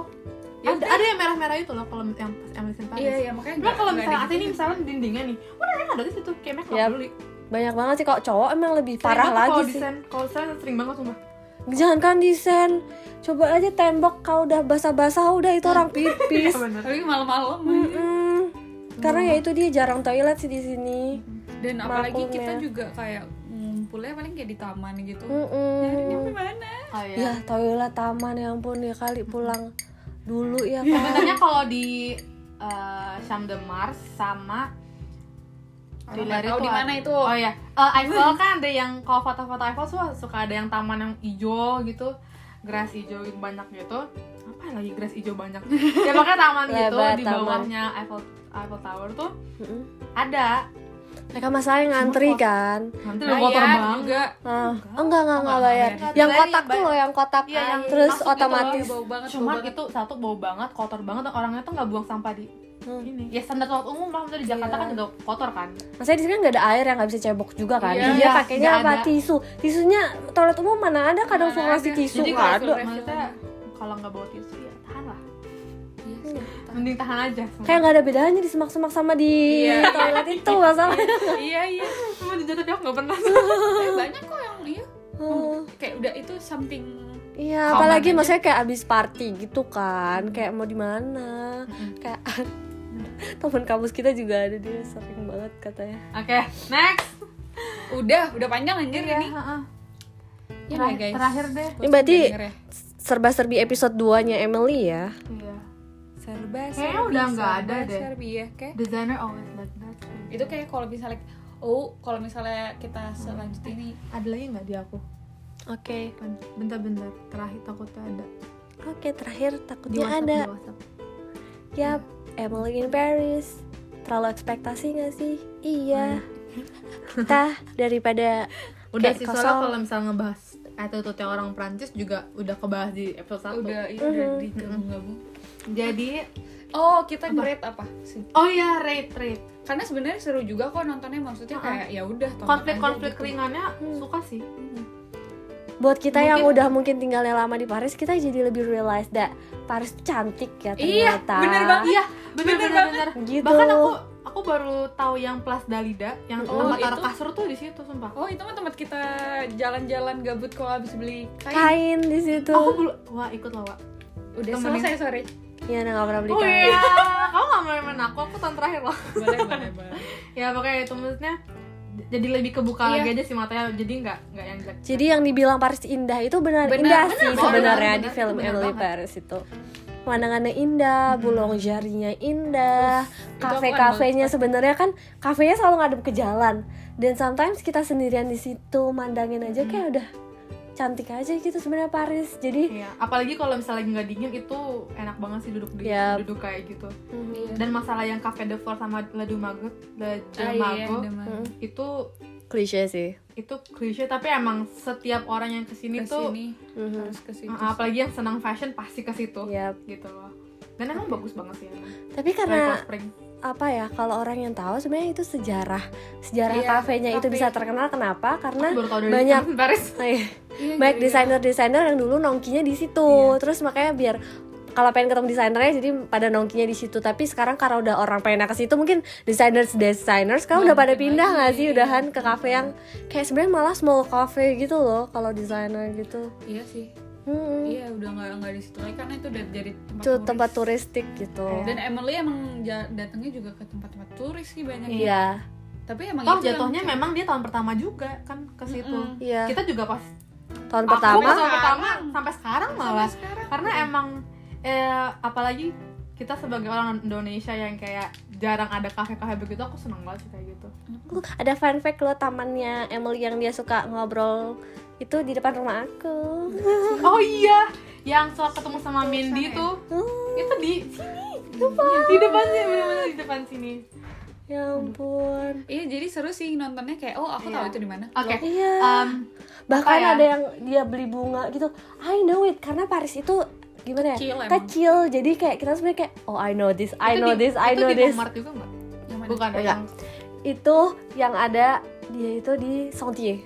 B: ya,
C: Ada.
B: ada, yang merah-merah itu loh kalau yang pas Emirates and Paris
C: iya iya makanya
B: Cuma
C: nggak-
B: Nah, kalau
C: nggak
B: misalnya
C: ada
B: atas ini
C: gitu.
B: misalnya dindingnya nih, udah mereka ada di situ, kayak mereka nggak
A: Yap.
B: peduli.
A: Banyak banget sih kalau cowok emang lebih parah
B: Sering banget
A: lagi
B: kalau
A: sih.
B: desain, kalau desain sering banget sumpah.
A: Jangan kan desain. Coba aja tembok kalau udah basah-basah udah itu orang
B: Iya
A: pipis.
B: benar.
C: tapi malam-malam
A: Mm-mm. Karena ya itu dia jarang toilet sih di sini.
C: dan apalagi kita
A: Maklumnya.
C: juga kayak ngumpulnya paling kayak di taman gitu
A: Mm-mm.
C: Nyarinya gimana?
B: Oh iya.
A: Ya toilet taman ya ampun ya kali pulang dulu
B: Iya,
A: ya kan.
B: Sebenarnya kalau di eh, Champ de Mars sama
C: Orang nggak tahu di
B: ada-
C: mana itu.
B: Oh iya, Eh, Eiffel kan ada yang kalau foto-foto Eiffel suka, suka ada yang taman yang hijau gitu, grass hijau gitu, banyak gitu. Apa lagi grass hijau banyak? ya pokoknya taman gitu
A: Lebar,
B: di
A: taman.
B: bawahnya Eiffel Eiffel Tower tuh
A: Mm-mm.
B: ada. Nah,
A: Mereka masalahnya ngantri
B: Semua
A: kan.
B: Nanti udah kotor
C: Bayar
B: banget.
C: juga
A: Ah, oh, enggak enggak enggak
C: enggak
A: bayar.
C: bayar.
A: Yang
B: Bayar,
A: kotak
B: yang
A: tuh
B: bayar.
A: loh, yang kotak
B: Iya, yang
A: terus
B: masuk gitu
A: otomatis.
C: bau banget bau
B: Cuman
C: banget.
B: itu satu bau banget, kotor banget, dan orangnya tuh nggak buang sampah di
A: Hmm.
B: ini. Ya standar tempat umum lah, maksudnya di Jakarta
A: Iya.
B: kan juga kotor kan.
A: Masalahnya di sini kan nggak ada air yang nggak bisa cebok juga kan.
C: Iya,
A: Dia pakainya
B: nggak
A: apa
B: ada.
A: tisu. Tisunya toilet umum mana ada kadang
C: Mana
A: suka ngasih
C: ada.
A: tisu
B: Jadi
A: nggak
B: kalau
A: ada.
B: suruh maksudnya kalau nggak bawa tisu ya tahan lah.
C: Iya sih.
B: Mending tahan aja. semua.
A: Kayak nggak ada bedanya di semak-semak sama di
C: Iya.
A: toilet itu masalahnya.
C: iya iya
B: cuma di jatuh aku nggak pernah.
C: Eh, banyak kok yang iya
A: Oh,
C: kayak udah itu something
A: Iya,
B: Common
A: apalagi
B: aja. Hmm.
A: maksudnya kayak abis party gitu kan, kayak mau di mana, kayak teman kampus kita juga ada dia sering banget katanya.
B: Oke, next. Iya,
C: udah udah panjang anjir ini
B: heeh.
C: ya
B: Terakhir-
C: guys
B: terakhir deh.
A: Ini berarti serba-serbi episode 2-nya Emily ya.
B: Iya.
C: serba
B: Kayaknya udah nggak ada deh.
C: serbi ya kayak
B: Designer always like that.
C: itu kayak kalau misalnya oh kalau misalnya kita selanjutnya ini
B: Ada lagi nggak di aku?
A: Oke.
B: Bentar-bentar. Terakhir takutnya ada.
A: Oke, terakhir
B: Di
A: takutnya
B: WhatsApp,
A: ada.
B: Di WhatsApp.
A: Yap, Emily in Paris. Terlalu ekspektasi gak sih? Iya. Kita daripada
B: Udah
A: Kayak
B: sih
A: kosong.
B: soalnya kalau misalnya ngebahas attitude orang Prancis juga udah kebahas di episode satu.
C: udah iya, udah digabung-gabung
B: Jadi
C: oh kita grade apa sih
B: oh ya rate rate.
C: karena sebenarnya seru juga kok nontonnya maksudnya
B: Ah-ah.
C: kayak ya udah tonton
B: Konflik-konflik
C: aja gitu.
B: ringannya suka sih.
A: buat kita yang
B: Mungkin-
A: udah mungkin tinggalnya lama di Paris, kita jadi lebih realize that Paris tuh cantik ya
C: Iya,
A: ternyata.
C: bener banget.
B: Iya,
C: Bener
B: bener-bener.
A: Gitu.
B: Bahkan aku aku baru tahu yang Plas Dalida, yang
C: Oh,
B: tempat taruh
C: itu.
B: kasur tuh di situ sumpah.
C: oh itu mah tempat kita jalan-jalan gabut kalau habis beli kain
A: kain di
C: Hmm.
A: situ.
B: Aku belum wah ikut lah, Wak.
C: udah
B: temenin.
C: selesai sorry
A: Iya, nah, nggak pernah beli
B: Oh
A: kain.
B: iya, kamu gak main main aku, aku tahun terakhir loh.
C: boleh boleh boleh
B: ya pokoknya itu maksudnya jadi lebih kebuka
C: Iya.
B: lagi aja sih matanya, jadi nggak nggak yang jelek.
A: Jadi yang dibilang Paris indah itu benar
C: Benar,
A: indah
C: benar
A: sih
B: banget,
A: sebenarnya
B: benar,
A: di
B: itu
A: film
B: benar
A: Emily
B: banget. Hmm.
A: Paris itu. Pemandangannya indah, bolong jarinya indah,
C: itu aku
A: kafe-kafenya sebenarnya kan kafenya selalu ngadep ke jalan. Dan sometimes kita sendirian di situ mandangin aja kayak
B: Hmm.
A: udah cantik aja gitu sebenarnya Paris. Jadi
B: Iya, apalagi kalau misalnya lagi nggak dingin itu enak banget sih duduk di
C: Iya.
A: Yap.
B: duduk kayak gitu.
A: mm,
B: Dan masalah yang Cafe de Fort sama Mm-hmm. Le Dumago, Le
C: Ah, iya,
B: Dumago
C: udah mah.
A: mm,
B: itu
A: klise sih
B: itu klise tapi emang setiap orang yang kesini, tuh
C: kesini
A: Mhm.
C: harus kesini
B: uh, apalagi yang senang fashion pasti ke situ
A: Yap.
B: gitu loh dan emang bagus banget sih emang.
A: tapi Iya.
B: Michael
A: karena
B: Spring.
A: apa ya kalau orang yang tahu sebenarnya itu sejarah sejarah
C: Iya,
A: kafenya itu
C: kafe.
A: bisa terkenal kenapa karena Oh, iya.
B: Aku baru tahu dari
A: banyak
B: teman Paris
C: Iya.
A: banyak desainer-desainer yang dulu nongkinya di situ
C: Iya.
A: terus makanya biar kalau pengen ketemu desainernya jadi pada nongkinya di situ tapi sekarang karena udah orang pengen ke situ mungkin designers designers kamu udah pada
C: Mungkin
A: pindah nggak
C: lagi.
A: sih udahan ke kafe yang
C: Iya.
A: kayak sebenarnya malah small cafe gitu loh kalau desainer gitu
C: iya sih
A: Hmm,
C: iya udah nggak nggak di situ lagi karena itu udah jadi tempat
A: itu
C: turis. Iya.
A: tempat turistik gitu
C: dan Emily emang ja- datangnya juga ke tempat-tempat turis sih banyak
A: iya
C: tapi emang
B: toh
C: itu yang- Mm.
B: jatuhnya memang dia tahun pertama juga kan ke situ
C: Mm-mm.
A: iya
B: kita juga pas
A: tahun
B: aku
A: pertama
B: pas tahun pertama
C: Sekarang.
B: sampai sekarang
C: sampai
B: malah
C: sekarang
B: karena emang eh, apalagi kita sebagai orang Indonesia yang kayak jarang ada kafe-kafe begitu aku seneng banget sih kayak gitu
A: aku ada fanfic loh tamannya Emily yang dia suka ngobrol itu di depan rumah aku
B: oh iya yang suka ketemu sama Mindy
C: Sama ya?
B: tuh
A: Hmm,
B: itu di sini di depan sini bener-bener di depan sini
A: ya ampun
C: iya jadi seru sih nontonnya kayak oh aku tahu
B: Iya.
C: itu di mana
B: oke
A: iya
B: em,
A: bahkan
B: apa ya?
A: ada yang dia beli bunga gitu I know it karena Paris itu gimana ya
C: Kecil emang.
A: kecil jadi kayak kita sebenarnya kayak oh I know this I
B: itu
A: know
B: di-
A: this I
B: itu
A: know
B: di
A: this Oh, iya.
B: Walmart juga nggak
C: Yang mana?
B: bukan
A: Enggak.
B: yang
A: itu yang ada dia itu di Sentier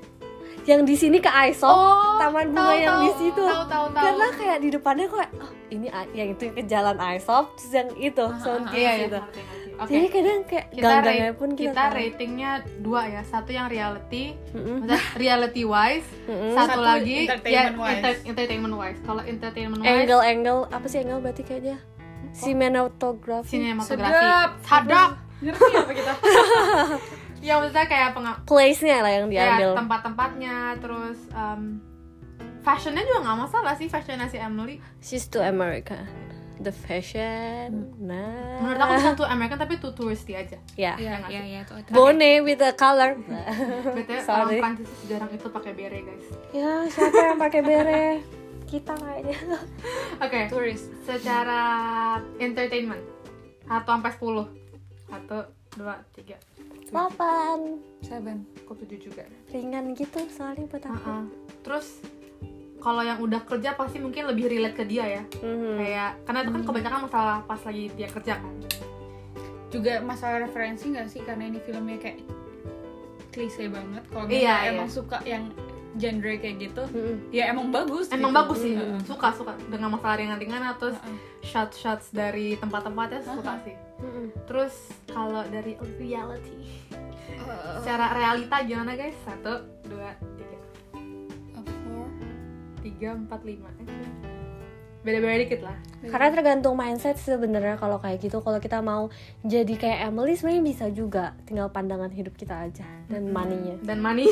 A: yang di sini ke Aesop
B: oh
A: taman bunga yang di situ.
B: tahu tahu tahu
A: karena kayak di depannya kok oh, ini a- yang itu ke jalan Aesop terus yang itu
C: ah,
A: Sentier
B: iya iya
A: gitu
B: ngerti, ngerti. oke
A: jadi kadang kayak
B: kita
A: gang-gangnya
B: rate-
A: pun kita,
B: kita
A: tahu.
B: ratingnya dua ya satu yang reality
A: Mm-mm.
B: maksudnya reality wise
A: Mm-mm.
B: satu,
C: Satu
B: lagi
C: entertainment
B: ya,
C: wise.
B: enter- entertainment wise kalau entertainment wise
A: angle angle apa sih angle berarti kayaknya
B: Oh.
A: cinematography
B: sinematografi
C: Sedap.
B: sadap
C: ngerti apa kita
B: ya maksudnya kayak penga
A: place-nya lah yang
B: ya,
A: diambil
B: tempat-tempatnya terus em, fashionnya juga nggak masalah sih fashionnya si Emily
A: She's to America. The fashion. Nah.
B: menurut aku bukan tuh American tapi tuh touristy aja
A: ya.
C: iya
B: nggak
C: iya
B: sih?
C: iya itu ada.
A: Bonnet with a color.
B: betulnya orang
A: Sorry.
B: Prancis jarang itu pakai bere guys
A: ya, siapa yang pakai bere? Kita kayaknya.
B: oke
C: turis
B: secara entertainment satu sampai sepuluh satu dua tiga
A: 8.
C: seven
B: aku tujuh juga
A: Ringan gitu soalnya buat aku.
B: Heeh. terus kalau yang udah kerja pasti mungkin lebih relate ke dia ya
A: Mhm.
B: kayak karena itu kan kebanyakan masalah pas lagi dia kerja kan
C: juga masalah referensi nggak sih karena ini filmnya kayak klise banget kalau
B: Iya,
C: misalnya
B: iya.
C: emang suka yang genre kayak gitu
A: Mhm.
C: ya emang bagus
B: emang
C: gitu.
B: bagus sih
C: Heeh.
B: suka suka dengan masalah ringan-ringan terus
C: Heeh.
B: shots shots dari tempat-tempatnya suka
C: Uh-huh.
B: sih
A: Mhm.
B: terus kalau dari reality secara realita gimana guys satu dua tiga
C: A four.
B: tiga empat lima Eh, beda-beda dikit lah
A: Karena tergantung mindset sebenarnya kalau kayak gitu kalau kita mau jadi kayak Emily sebenarnya bisa juga tinggal pandangan hidup kita aja dan maninya.
B: dan money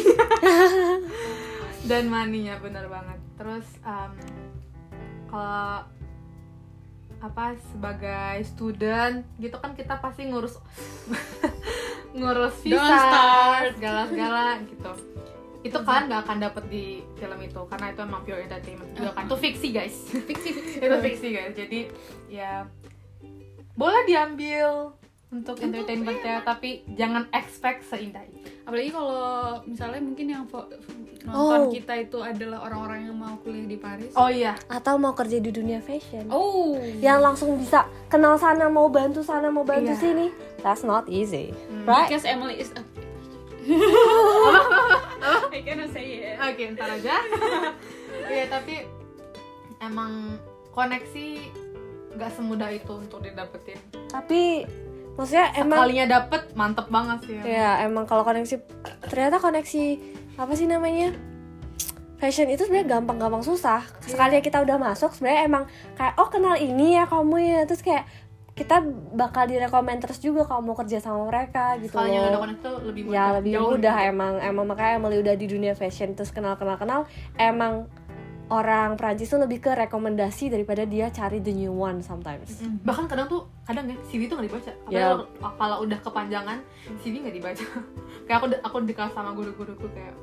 B: dan money-nya bener banget terus em, kalau apa sebagai student gitu kan kita pasti ngurus ngurus
C: Don't
B: visa
C: start.
B: segala-segala gitu itu kalian nggak akan dapet di film itu karena itu emang pure entertainment juga kan itu fiksi guys
C: fiksi fiksi
B: itu fiksi guys jadi ya boleh diambil untuk entertainmentnya tapi jangan expect seindah itu
C: apalagi kalau misalnya mungkin yang fo- nonton
A: Oh.
C: kita itu adalah orang-orang yang mau kuliah di Paris
B: Oh iya,
A: Atau mau kerja di dunia fashion.
C: Oh.
A: yang langsung bisa kenal sana mau bantu sana mau bantu
C: Iya.
A: sini that's not easy
B: Hmm.
A: right
C: because Emily is a I cannot say it.
B: oke ntar aja. Iya tapi emang koneksi nggak semudah itu untuk didapetin.
A: tapi maksudnya emang
B: Sekalinya dapet mantep banget sih. emang.
A: ya emang kalau koneksi ternyata koneksi apa sih namanya fashion itu sebenarnya gampang-gampang susah
B: Iya.
A: sekali kita udah masuk sebenarnya emang kayak oh kenal ini ya kamu ya terus kayak kita bakal direkomend terus juga kalau mau kerja sama mereka gitu
B: Sekalinya
A: loh.
B: udah koneksi tuh lebih mudah.
A: ya lebih
B: Jauh
A: mudah emang emang makanya Emily udah di dunia fashion terus kenal kenal kenal emang orang Prancis tuh lebih ke rekomendasi daripada dia cari the new one sometimes
B: Mm. Bahkan kadang tuh kadang ya CV tuh nggak dibaca. Apalagi
A: Ya.
B: kalau- kalau udah kepanjangan CV nggak dibaca. kayak aku aku dikasih sama guru-guruku kayak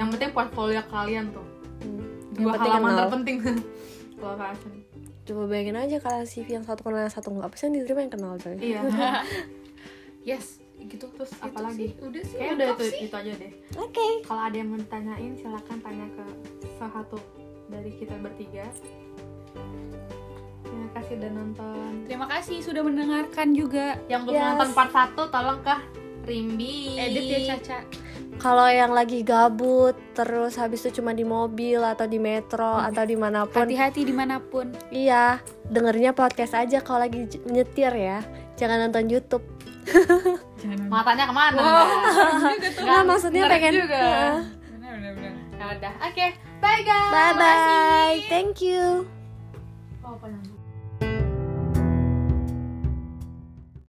B: yang penting portfolio kalian tuh
A: Hmm. Yang
B: dua
A: penting
B: halaman
A: kenal.
B: terpenting. Kalau fashion.
A: coba bayangin aja kalau CV yang satu kenal yang satu nggak pasti yang diterima yang kenal coy
B: Iya.
C: Yes, gitu
B: Terus
C: Itu
B: apa lagi?
C: sih, udah sih
B: Kayaknya udah
C: lengkap
B: itu,
C: sih
B: itu aja deh.
A: Oke.
B: Kalau ada yang mau ditanyain silakan tanya ke salah satu dari kita bertiga. Terima kasih udah nonton.
C: terima kasih sudah mendengarkan juga
B: Yang belum
A: Yes.
B: nonton part 1 tolong ke Rimbi.
C: edit ya Caca
A: Kalau yang lagi gabut terus habis itu cuma di mobil atau di metro atau dimanapun,
C: hati-hati dimanapun
A: iya dengernya podcast aja kalau lagi j- nyetir ya. Jangan nonton YouTube.
C: jangan
B: Matanya kemana? Oh.
A: Nah, maksudnya
B: menarik
A: pengen.
B: juga.
A: Heeh.
C: benar benar benar
B: Ya udah, oke. Bye guys.
A: Bye bye. Thank you.
B: Oh, apa namanya?